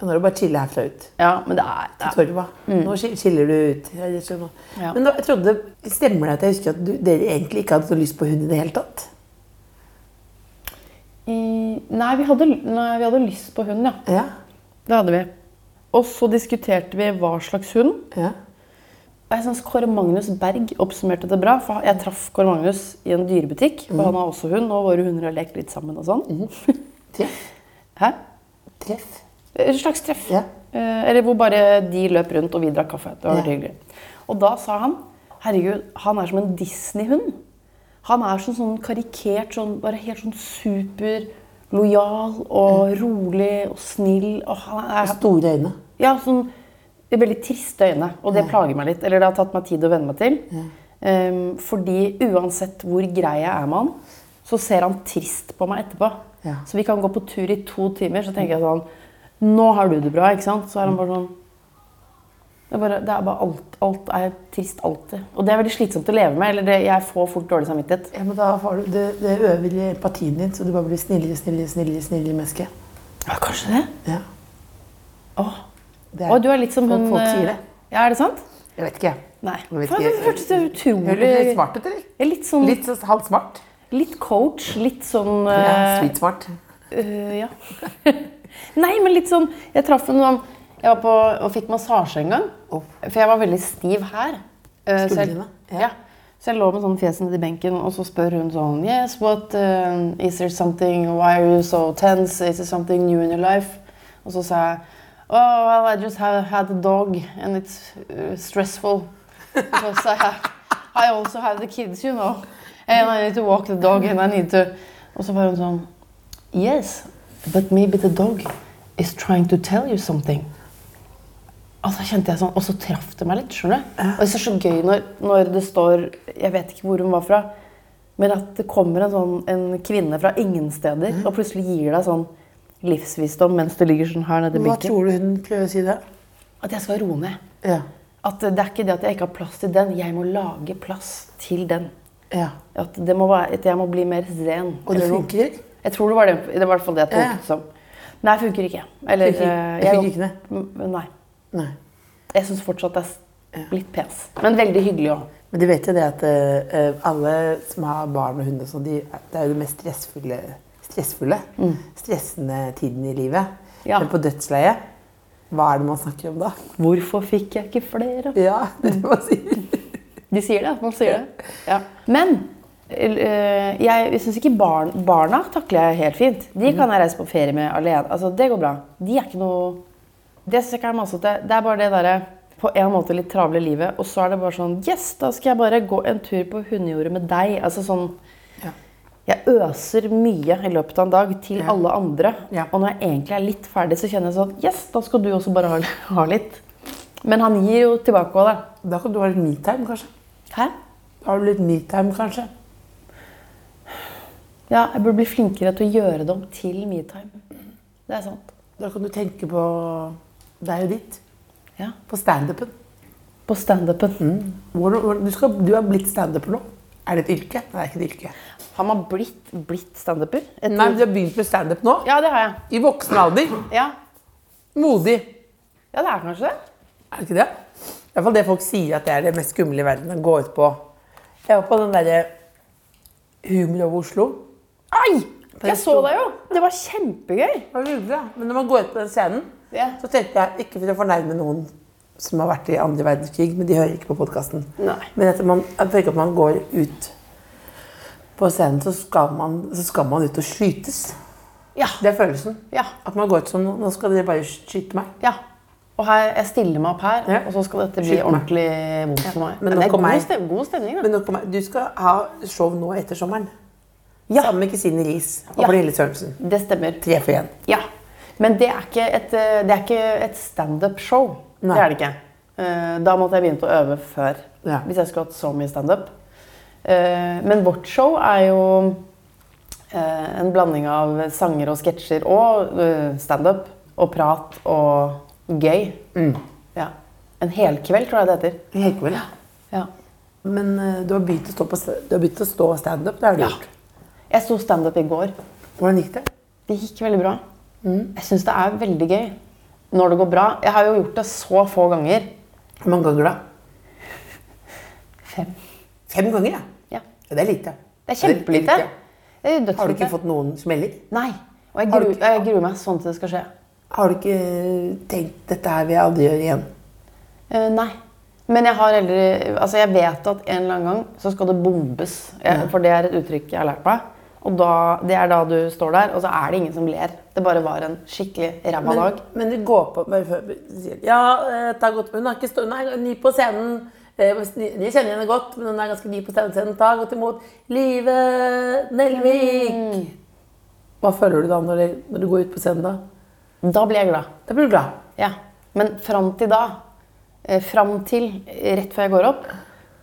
D: Nå er det bare å chille herfra ut.
G: ja, men det er, det er
D: Torva. Nå skil- skiller du ut. Jeg skjønner.
G: Ja.
D: Men da, jeg trodde, stemmer det at jeg husker at du, dere egentlig ikke hadde så lyst på hund i det hele tatt?
G: I- nei, vi hadde, nei, vi hadde lyst på hund, ja.
D: Ja.
G: Det hadde vi. Og så diskuterte vi hva slags hund.
D: ja.
G: Og Jeg synes sånn Kåre Magnus Berg oppsummerte det bra. for Jeg traff Kåre Magnus i en dyrebutikk.
D: Mhm.
G: Og han har også hund, og våre hunder har lekt litt sammen. og sånn.
D: Treff.
G: Hæ?
D: Treff.
G: Et slags treff.
D: Ja.
G: Eh, eller hvor bare de løp rundt, og vi drakk kaffe. Det var
D: Ja.
G: veldig hyggelig. Og da sa han herregud, han er som en Disney-hund. Han er sånn, sånn karikert, sånn, bare helt sånn super lojal og
D: Mhm.
G: rolig og snill. Og han er,
D: Store øyne.
G: ja, sånn det er veldig triste øyne, og det plager meg litt. Eller det har tatt meg tid å venne meg til. Ehm, fordi uansett hvor grei jeg er med han, så ser han trist på meg etterpå.
D: Ja.
G: Så vi kan gå på tur i to timer, så tenker jeg sånn Nå har du det bra, ikke sant? Så er
D: Mm.
G: han bare sånn det er bare, det er bare alt, alt er trist alltid. Og det er veldig slitsomt å leve med. eller det, Jeg får fort dårlig samvittighet.
D: Ja, men da får du det, det øver empatien din, så du bare blir snillere, snillere, snillere, snillere menneske.
G: Ja, kanskje det?
D: Ja.
G: Åh.
D: Det
G: Å, du er litt som
D: folk-
G: hun
D: Folk sier
G: eh,
D: det.
G: Ja, er det sant?
D: Jeg vet ikke, jeg.
G: Nei.
D: Jeg vet
G: Faen,
D: ikke.
G: det hørtes så
D: Hører du litt
G: utrolig
D: smart ut, eller?
G: Ja, Litt sånn
D: Litt så halvt smart.
G: Litt coach, litt sånn
D: Ja,
G: eh,
D: sweet smart.
G: øh, ja. Nei, men litt sånn Jeg traff en sånn Jeg var på og fikk massasje en gang.
D: Oh.
G: For jeg var veldig stiv her. Eh, så jeg-
D: Skuldrene, ja.
G: Ja. Så jeg lå med sånn fjeset nedi benken, og så spør hun sånn Yes, what eh, Is there something Why are you so tense? Is there something new in your life? Og så sa jeg Oh, well, I just have had a dog, and it's uh, stressful. Because I, have, I also have the kids, you know. And I need to walk the dog, and I need to Og så var hun sånn Yes, but maybe the dog is trying to tell you something. Og så kjente jeg sånn, og så traff det meg litt, skjønner du? Og det er så gøy når, når det står, jeg vet ikke hvor hun var fra, men at det kommer en, sånn, en kvinne fra ingen steder,
D: Mm.
G: og plutselig gir deg sånn livsvisdom mens du ligger sånn her nede i
D: Hva
G: benken.
D: tror du hun prøver å si da?
G: At jeg skal roe ned.
D: Ja.
G: At det er ikke det at jeg ikke har plass til den, jeg må lage plass til den.
D: ja.
G: At, det må være, at jeg må bli mer zen.
D: Og det
G: Eller noe.
D: funker?
G: Jeg tror det var det, det var i hvert fall det jeg
D: Ja.
G: tolket som. Nei, funker ikke. Eller,
D: Funker-
G: eh,
D: funker ikke det?
G: M- Nei.
D: Nei.
G: Jeg syns fortsatt det er litt pes. Men veldig hyggelig òg.
D: Men de vet jo det at eh, alle som har barn og hund, og sånn, de, det er jo det mest stressfulle, stressfulle stressende tiden i livet.
G: Mm. Ja.
D: Men på dødsleiet, hva er det man snakker om da?
G: Hvorfor fikk jeg ikke flere?
D: Ja, det er det man sier.
G: De sier det. Man sier det. Ja. Men eh, jeg syns ikke barn, barna takler jeg helt fint. De kan jeg reise på ferie med alene. Altså, det går bra. De er ikke noe Det syns jeg ikke er masete. Det er bare det derre på en måte litt travle livet, og så er det bare sånn Yes, da skal jeg bare gå en tur på hundejordet med deg. Altså sånn Jeg øser mye i løpet av en dag til alle andre.
D: Ja.
G: Og når jeg egentlig er litt ferdig, så kjenner jeg sånn Yes, da skal du også bare ha, ha litt. Men han gir jo tilbake òg, da.
D: Da kan du ha litt me-time, kanskje.
G: Hæ?
D: Da har du litt me-time, kanskje.
G: Ja, jeg burde bli flinkere til å gjøre det om til metime. Det er sant.
D: Da kan du tenke på deg og ditt.
G: Ja. Mm.
D: På standupen.
G: På standupen.
D: Hvordan- hvordan- Du, skal- du har blitt standuper nå. Er det et yrke? Nei, det er ikke et yrke.
G: Har man blitt, blitt standuper? Et-
D: Nei, men Du har begynt med standup nå.
G: Ja, det har jeg.
D: I voksen alder.
G: Ja.
D: Modig.
G: ja, det er kanskje det.
D: Er det ikke det? I hvert fall det folk sier at det er det mest skumle i verden. Å gå ut på Jeg var på den derre Humor over Oslo.
G: Ai! Jeg så deg jo! Det var kjempegøy.
D: Det var hyggelig, da. Men når man går ut på den scenen,
G: Ja.
D: så tenkte jeg ikke for å fornærme noen som har vært i andre verdenskrig, men de hører ikke på podkasten.
G: Nei.
D: Men etter man, jeg tenker at man går ut på scenen, så skal man, så skal man ut og skytes.
G: Ja.
D: Det er følelsen.
G: Ja.
D: At man går ut sånn Nå skal dere bare skyte meg.
G: ja. Og her, jeg stiller meg opp her,
D: Ja.
G: og så skal dette bli
D: Skyt meg.
G: ordentlig vondt for meg.
D: men
G: det
D: nok
G: er
D: om
G: god,
D: meg.
G: stem, god stemning, da.
D: Men nok om meg. Du skal ha show nå etter sommeren.
G: Ja.
D: Sammen med Kristine Riis og
G: Ja.
D: Pernille Sørensen.
G: Det stemmer.
D: Tre for én.
G: Ja. Men det er ikke et, eh, det er ikke et standup-show. Det
D: Nei.
G: er det ikke. Eh, Da måtte jeg begynt å øve før.
D: Ja.
G: Hvis jeg skulle hatt så mye standup. Eh, Men vårt show er jo eh, en blanding av sanger og sketsjer og eh, standup. Og prat og gøy.
D: Mm.
G: Ja. En helkveld, tror jeg det heter.
D: Helt vel.
G: Ja.
D: Men eh, du har begynt å stå, på sta- du har begynt å stå standup. Det har du gjort.
G: Jeg sto standup i går.
D: Hvordan gikk det?
G: Det gikk veldig bra.
D: Mm.
G: Jeg syns det er veldig gøy når det går bra. Jeg har jo gjort det så få ganger.
D: Hvor mange ganger da?
G: Fem.
D: Fem ganger, ja.
G: Ja.
D: ja det er lite.
G: Det er kjempelite.
D: lite.
G: Det er
D: Har du
G: dødslite.
D: ikke fått noen smeller?
G: Nei. Og jeg
D: Har du
G: gruer,
D: ikke-
G: jeg gruer meg sånn til det skal skje.
D: Har du ikke tenkt dette her vil jeg aldri gjøre igjen?
G: Eh, nei. Men jeg har heller Altså, jeg vet at en eller annen gang så skal det bombes. Jeg, For det er et uttrykk jeg har lært meg. Og da, det er da du står der, og så er det ingen som ler. Det bare var en skikkelig ræva
D: Men,
G: dag.
D: men det går på bare før, sier, de, Ja, eh, det har gått, hun har ikke stå, hun er ny på scenen. Eh, hvis ni- Jeg kjenner henne godt, men hun er ganske ny på scenen. scenen. Ta godt imot Live Nelvik! Hva føler du da når, det, når du går ut på scenen? Da
G: Da blir jeg glad.
D: Da blir du glad.
G: Ja. Men fram til da, eh, fram til eh, rett før jeg går opp,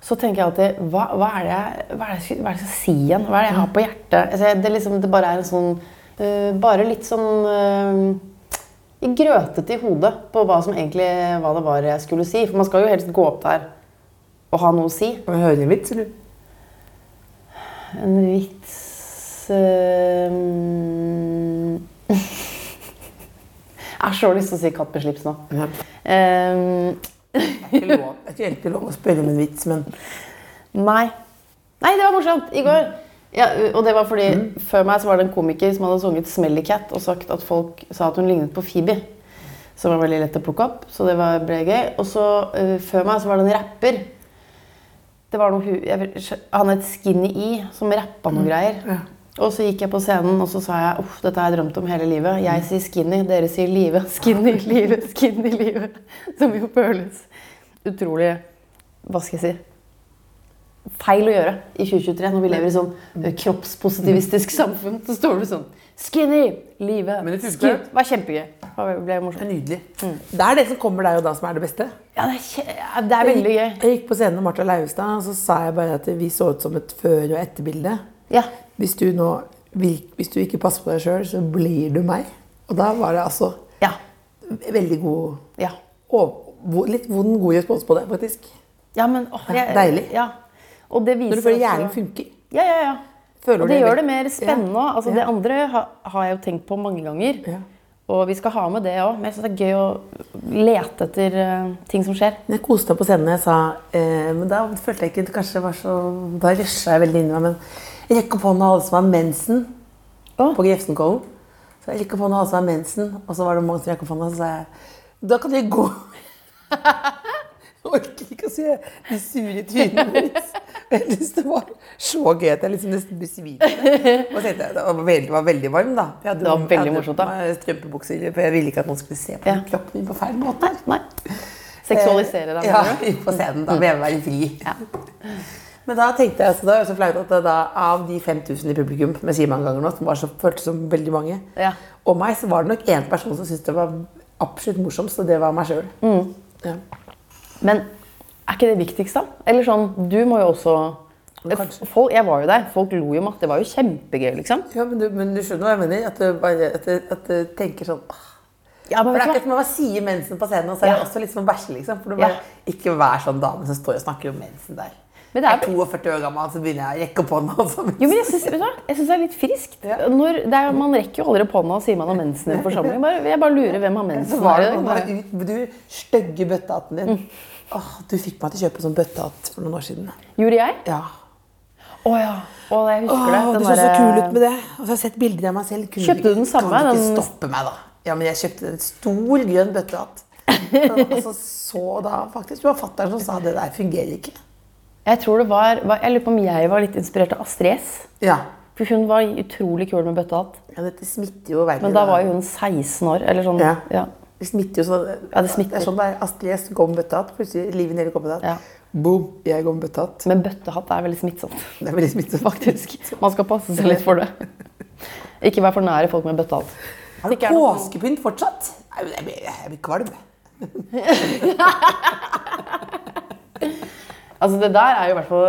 G: så tenker jeg alltid Hva, hva, er, det jeg, hva, er, det jeg, skal- hva er det jeg skal si igjen? Hva er det jeg har på hjertet? Altså, jeg- det, er liksom, det bare er en sånn eh, Bare litt sånn eh, grøtete i hodet på hva som egentlig hva det var jeg skulle si. For man skal jo helst gå opp der og ha noe å si.
D: Kan vi høre en vits, eller?
G: En vits eh, Jeg har så lyst til å si 'katt med slips' nå.
D: Ja.
G: Eh,
D: Det er ikke egentlig lov å spørre om en vits, men
G: Nei. Nei, det var morsomt i går. Ja, og det var fordi Før meg så var det en komiker som hadde sunget 'Smelly Cat' og sagt at folk sa at hun lignet på Phoebe. Som var veldig lett å plukke opp. Så det var, ble gøy. Og så eh, før meg så var det en rapper. Det var noe, hu- jeg, vet ikke- han het Skinny E, som rappa
D: Mm,
G: noe greier. Og så gikk jeg på scenen og så sa jeg, uff, dette har jeg drømt om hele livet. Jeg sier skinny, dere sier live. Skinny, live, skinny, live. Som jo føles utrolig Hva skal jeg si? feil å gjøre i 2023, når vi lever i sånn
D: Mm.
G: eh, kroppspositivistisk samfunn. Så står du sånn Skinny! Livet!
D: Men det funker.
G: skin- Det var kjempegøy. Det ble
D: det er
G: morsomt.
D: nydelig. Det er det som kommer deg og da, som er det beste.
G: Ja, det er, kje- ja, det er veldig gøy.
D: Jeg gikk på scenen med Martha Leivestad, og så sa jeg bare at vi så ut som et før- og etterbilde.
G: Ja.
D: hvis du, nå, vir- hvis du ikke passer på deg sjøl, så blir du meg. Og da var det altså
G: Ja.
D: veldig god
G: ja.
D: og, vo- litt vond, god respons på det, faktisk.
G: Ja, men, åh, jeg,
D: deilig.
G: Ja. Og det viser
D: Når du føler
G: også-
D: hjernen funker.
G: Ja, ja, ja.
D: Føler
G: og det
D: du-
G: gjør det mer spennende.
D: Ja.
G: også. Altså,
D: Ja.
G: Det andre ha, har jeg jo tenkt på mange ganger.
D: Ja.
G: Og vi skal ha med det òg. Men jeg syns det er gøy å lete etter eh, ting som skjer.
D: Men Jeg koste meg på scenen da jeg sa eh, Men da følte jeg ikke det kanskje var så Da rusha jeg veldig inn i meg, men Rekk opp hånda alle som har mensen
G: Å.
D: på Grefsenkollen. Så jeg rekk opp hånda alle som har mensen, og så var det mange som rakk opp hånda, så sa jeg Da kan dere gå. Jeg orker ikke å se de sure trynene deres. Jeg synes det var så gøy at jeg liksom nesten besvimte. Og så tenkte jeg, Det var veldig, var veldig varm, da. Jeg hadde,
G: Det var veldig
D: jeg hadde
G: morsomt, da.
D: på meg Strømpebukser, for jeg ville ikke at noen skulle se på
G: Ja.
D: kroppen min på feil måte.
G: Nei. Seksualisere deg.
D: Eh, Ja,
G: mener du?
D: på scenen. Da vil jeg være fri. Men da tenkte jeg, så da er det så flaut at det da, av de 5000 i publikum som jeg sier mange ganger nå, som var så, føltes som veldig mange,
G: Ja.
D: og meg, så var det nok én person som syntes det var absolutt morsomst, og det var meg sjøl.
G: Mm.
D: Ja.
G: Men er ikke det viktigst, da? Eller sånn, du må jo også
D: Kanskje.
G: folk, Jeg var jo der. Folk lo jo masse. Det var jo kjempegøy, liksom.
D: Ja, men, du, men du skjønner hva jeg mener? At du, bare, at du, at du tenker sånn «Åh».
G: Ja, men
D: For det er
G: vet du hva?
D: akkurat som å sie mensen på scenen, og så er det
G: Ja.
D: også litt som å bæsje, liksom. For du
G: Ja.
D: bare, Ikke vær sånn dame som står og snakker om mensen der.
G: Men det er-
D: Jeg er 42 år gammel, så begynner jeg å rekke opp hånda. og sånn. så-
G: Jo, men jeg syns, vet du hva? Jeg syns det er litt friskt. Når, det er, man rekker jo aldri opp hånda og sier man har mensen i en forsamling. Bare, jeg bare lurer hvem har
D: Så
G: mensen
D: var
G: her i
D: det
G: dag.
D: noen
G: Bare-
D: bare ut Du stygge bøttehatten din.
G: Mm.
D: Åh, du fikk meg til å kjøpe sånn bøttehatt for noen år siden.
G: Gjorde jeg?
D: Ja.
G: Å ja. Å, jeg husker det.
D: Åh,
G: Den
D: du så så
G: derre-
D: kul ut med det. Og så har jeg sett bilder av meg selv. Kunne
G: Kjøpte du den samme,
D: Kan du ikke
G: den-
D: stoppe meg, da? Ja, men jeg kjøpte en stor, grønn bøttehatt. Og så så da faktisk Det var fatter'n som sa det der fungerer ikke.
G: Jeg tror det var, var Jeg lurer på om jeg var litt inspirert av Astrid S.
D: Ja.
G: For hun var utrolig kul med bøttehatt.
D: ja dette smitter jo verden.
G: Men da var jo hun 16 år, eller sånn.
D: Ja.
G: Ja.
D: Det smitter jo sånn.
G: Ja, det smitter.
D: er sånn der Astrid S går med bøttehatt. Plutselig livet nede går med
G: Ja.
D: bøttehatt. Boom, jeg går med bøttehatt.
G: Men bøttehatt er veldig smittsomt.
D: Det er veldig smittsomt, faktisk.
G: Man skal passe seg litt for det. Ikke vær for nære folk med bøttehatt.
D: Er det
G: Ikke er noe-
D: påskepynt fortsatt? Nei, men Jeg blir, jeg blir kvalm.
G: Altså, det der er jo i hvert fall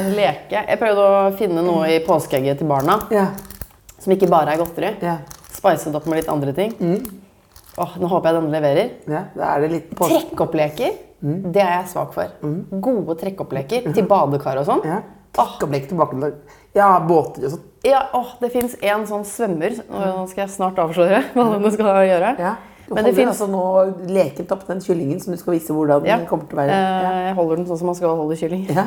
G: en leke. Jeg prøvde å finne noe i påskeegget til barna
D: Ja.
G: som ikke bare er godteri.
D: Ja.
G: Spice det opp med litt andre ting.
D: Mm.
G: Åh, nå håper jeg denne leverer.
D: ja, da er det litt påske...
G: Trekkoppleker,
D: Mm.
G: det er jeg svak for. Gode trekkoppleker til badekar og sånn.
D: Ja. Trekkopplegg tilbake til Ja, båter og sånn.
G: Ja, åh, Det fins en sånn svømmer Nå skal jeg snart avsløre hva den skal gjøre.
D: Mm. Ja. Du
G: Men det
D: holder
G: finnes-
D: altså nå lekent opp den kyllingen som du skal vise hvordan
G: Ja.
D: den kommer til å være.
G: Eh, Jeg holder den sånn som man skal holde kylling.
D: Ja.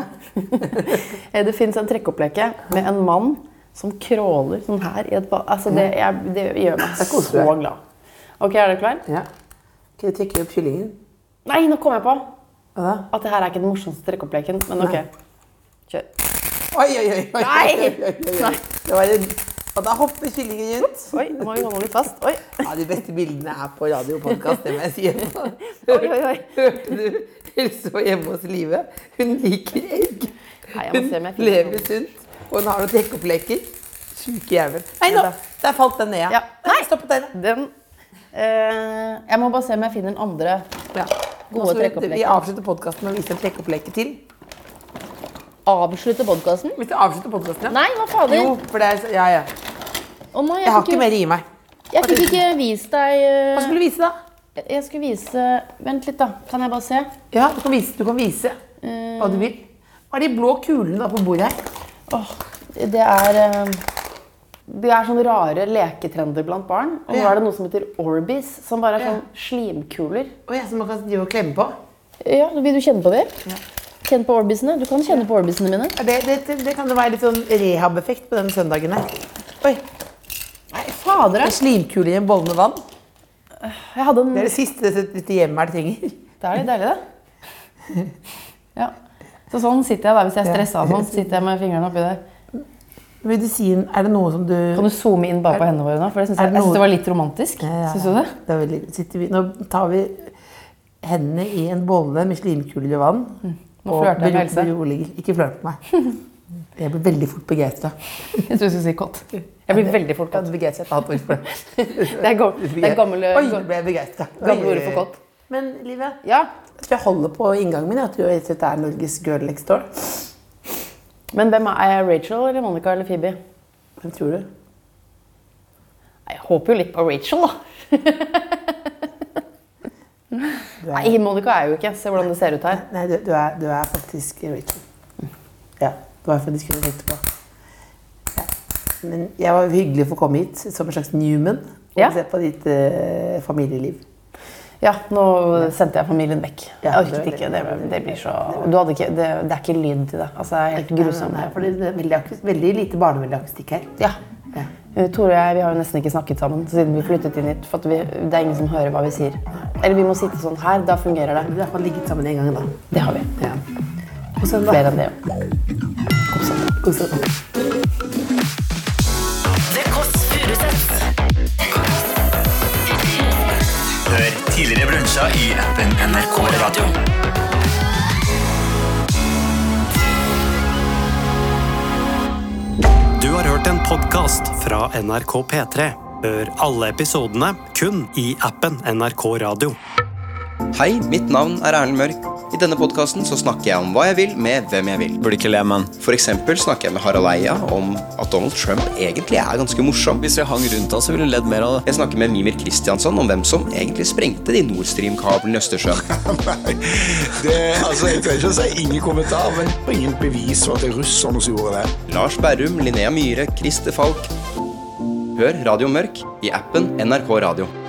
G: Eh, det fins en trekkoppbleke med en mann som crawler sånn her i et bad. Altså, det, jeg, det gjør meg
D: Mm. er koselig.
G: så glad. Ok, er dere klar?
D: Ja. Ok, du trekker opp kyllingen.
G: Nei, nå kom jeg på
D: Hva da?
G: at det her er ikke den morsomste trekkoppbleken, men ok.
D: Nei.
G: Kjør.
D: Oi, oi, oi! oi,
G: Nei!
D: oi, oi, oi, oi.
G: Nei.
D: Det var en... Og da hopper kyllingen rundt.
G: Oi, nå må vi holde den litt fast. Oi,
D: Ja, De beste bildene er på radio og podkast, det må jeg si.
G: oi, oi. oi.
D: Hørte du Else var hjemme hos Live? Hun liker egg.
G: Nei, jeg må
D: Hun
G: se om jeg finner
D: lever
G: noe.
D: sunt, og hun har noen trekkoppleker. Sjuke jævel. Nei, nå! Der falt den ned,
G: Ja. Nei!
D: Stopp den.
G: Den eh, Jeg må bare se om jeg finner den andre.
D: Ja.
G: Gode
D: Nå skal vi-
G: trekkoppleker.
D: Vi avslutter podkasten med å vise en trekkoppleker til.
G: Avslutte podkasten?
D: Hvis du avslutter podkasten, ja.
G: Nei, hva fader?
D: Jo, for det er så- Ja, ja.
G: Å nei,
D: Jeg har ikke
G: fikk
D: mer i meg.
G: ikke- Jeg fikk ikke vist deg
D: Hva
G: eh,
D: skulle du vise, da?
G: Jeg skulle vise Vent litt, da. Kan jeg bare se?
D: Ja, du kan vise, du kan vise hva du
G: Mm.
D: vil. Hva er de blå kulene da på bordet her?
G: Åh, det er eh, Det er sånne rare leketrender blant barn. Og nå
D: Ja.
G: er det noe som heter Orbis, som bare er
D: Ja.
G: sånn slimkuler.
D: Å, ja, som man kan drive og klemme på?
G: Ja, Vil du kjenne på det? Kjenn på Orbisene. Du kan kjenne på Orbisene mine.
D: Ja, Det, det, det, det kan jo være litt sånn rehab-effekt på den søndagen her. Oi,
G: Nei, fader.
D: en slimkule i en bolle med vann.
G: Jeg hadde en
D: Det er det siste dette dette hjemmet her trenger.
G: Det er litt deilig, det. Ja. Så sånn sitter jeg da, hvis jeg er stressa. Sånn sitter jeg med fingrene oppi der.
D: Medisin, er det noe som du
G: Kan du zoome inn bare på hendene våre nå? For det synes
D: Er
G: jeg,
D: det
G: jeg synes
D: noe-
G: det var litt romantisk. Synes du det?
D: det er veldig, sitter vi, nå tar vi hendene i en bolle med slimkuler og vann.
G: Mm. Nå flørter jeg med Else.
D: beroliger. Ikke flørt med meg. Jeg blir veldig fort begeistra.
G: Jeg tror jeg skulle si kott. Jeg blir veldig fort kott.
D: Begeistra er et annet ord for det.
G: Det er gam- det er gammel-
D: Oi, nå ble jeg begeistra.
G: gamle ordet for kott.
D: Men livet
G: Ja,
D: Jeg tror jeg holder på inngangen min. At du rett og slett er Norges girl next door.
G: Men hvem er, er jeg Rachel eller Monica eller Phoebe?
D: Hvem tror du?
G: Nei, Jeg håper jo litt på Rachel, da. Nei, Monica er jo ikke. Se hvordan det ser ut her.
D: Nei, du, du, er, du er faktisk Rachel. Mm. Ja, det var faktisk det jeg tenkte på. Ja. Men jeg var hyggelig for å komme hit som en slags Newman og
G: Ja.
D: se på ditt eh, familieliv.
G: Ja, nå sendte jeg familien vekk. Jeg
D: Ja,
G: orket
D: det-
G: ikke. Det, det blir så du hadde ikke, det, det er ikke lyd til det. Altså, det er helt grusomt.
D: Nei, for det er veldig, akus- veldig lite barnevennlig akustikk her.
G: Ja. Eh, Tore og jeg vi har jo nesten ikke snakket sammen siden vi flyttet inn hit. For at vi, det er ingen som hører hva vi sier. Eller vi må sitte sånn her. Da
D: Vi
G: fungerer det.
D: har i hvert fall ligget sammen en gang, da.
G: Det har vi.
D: Ja. Og så da-
G: Flere enn det. jo.
D: og så-
B: The Kåss Furuseths.
H: Hør tidligere brunsjer i appen NRK Radio.
A: Du har hørt en podkast fra NRK P3. Hør alle episodene kun i appen NRK Radio.
I: Hei, mitt navn er Erlend Mørk. I denne podkasten så snakker jeg om hva jeg vil med hvem jeg vil.
J: Burde ikke le, men
I: For eksempel snakker jeg med Harald Eia om at Donald Trump egentlig er ganske morsom.
J: hvis vi hang rundt oss, så ville vi ledd mer av det.
I: Jeg snakker med Mimir Kristiansson om hvem som egentlig sprengte de Nord Stream-kablene i Østersjøen.
K: Det, altså, jeg tør ikke å si ingen kommentar, men det var ingen bevis for at det er russerne som gjorde det.
I: Lars Berrum, Linnea Myhre, Christer Falk. Hør Radio Mørk i appen NRK Radio.